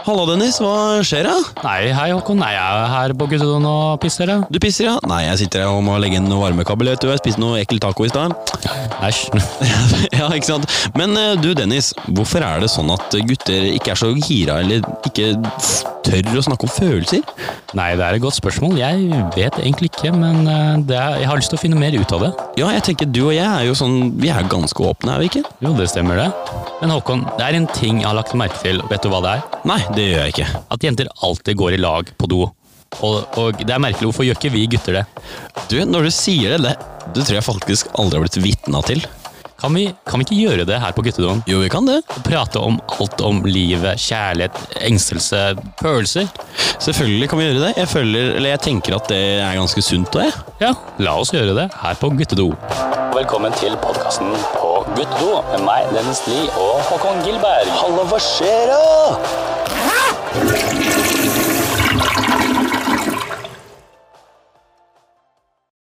Halla, Dennis. Hva skjer, da? Nei, hei Håkon. Nei, jeg er her på guttedoen og pisser, jeg. Du pisser, ja? Nei, jeg sitter her og må legge inn varmekabel. Vet du. Jeg spiste noe ekkel taco i stad. Æsj. ja, ikke sant? Men eh, du, Dennis. Hvorfor er det sånn at gutter ikke er så gira, eller ikke tør å snakke om følelser? Nei, det er et godt spørsmål. Jeg vet egentlig ikke, men eh, det er, jeg har lyst til å finne mer ut av det. Ja, jeg tenker du og jeg er jo sånn Vi er ganske åpne, er vi ikke? Jo, det stemmer det. Men Håkon, det er en ting jeg har lagt merke til. Vet du hva det er? Nei, det gjør jeg ikke. At jenter alltid går i lag på do. Og, og det er merkelig, hvorfor gjør ikke vi gutter det? Du, når du sier det, det, det tror jeg faktisk aldri har blitt vitna til. Kan vi, kan vi ikke gjøre det her på guttedoen? Jo, vi kan det. Prate om alt om livet, kjærlighet, engstelse, følelser? Selvfølgelig kan vi gjøre det. Jeg føler, eller jeg tenker at det er ganske sunt, det. Ja, la oss gjøre det her på Guttedo. Velkommen til podkasten på Guttedo med meg, Dennis Lie og Håkon Gilberg. Halla, hva skjer da?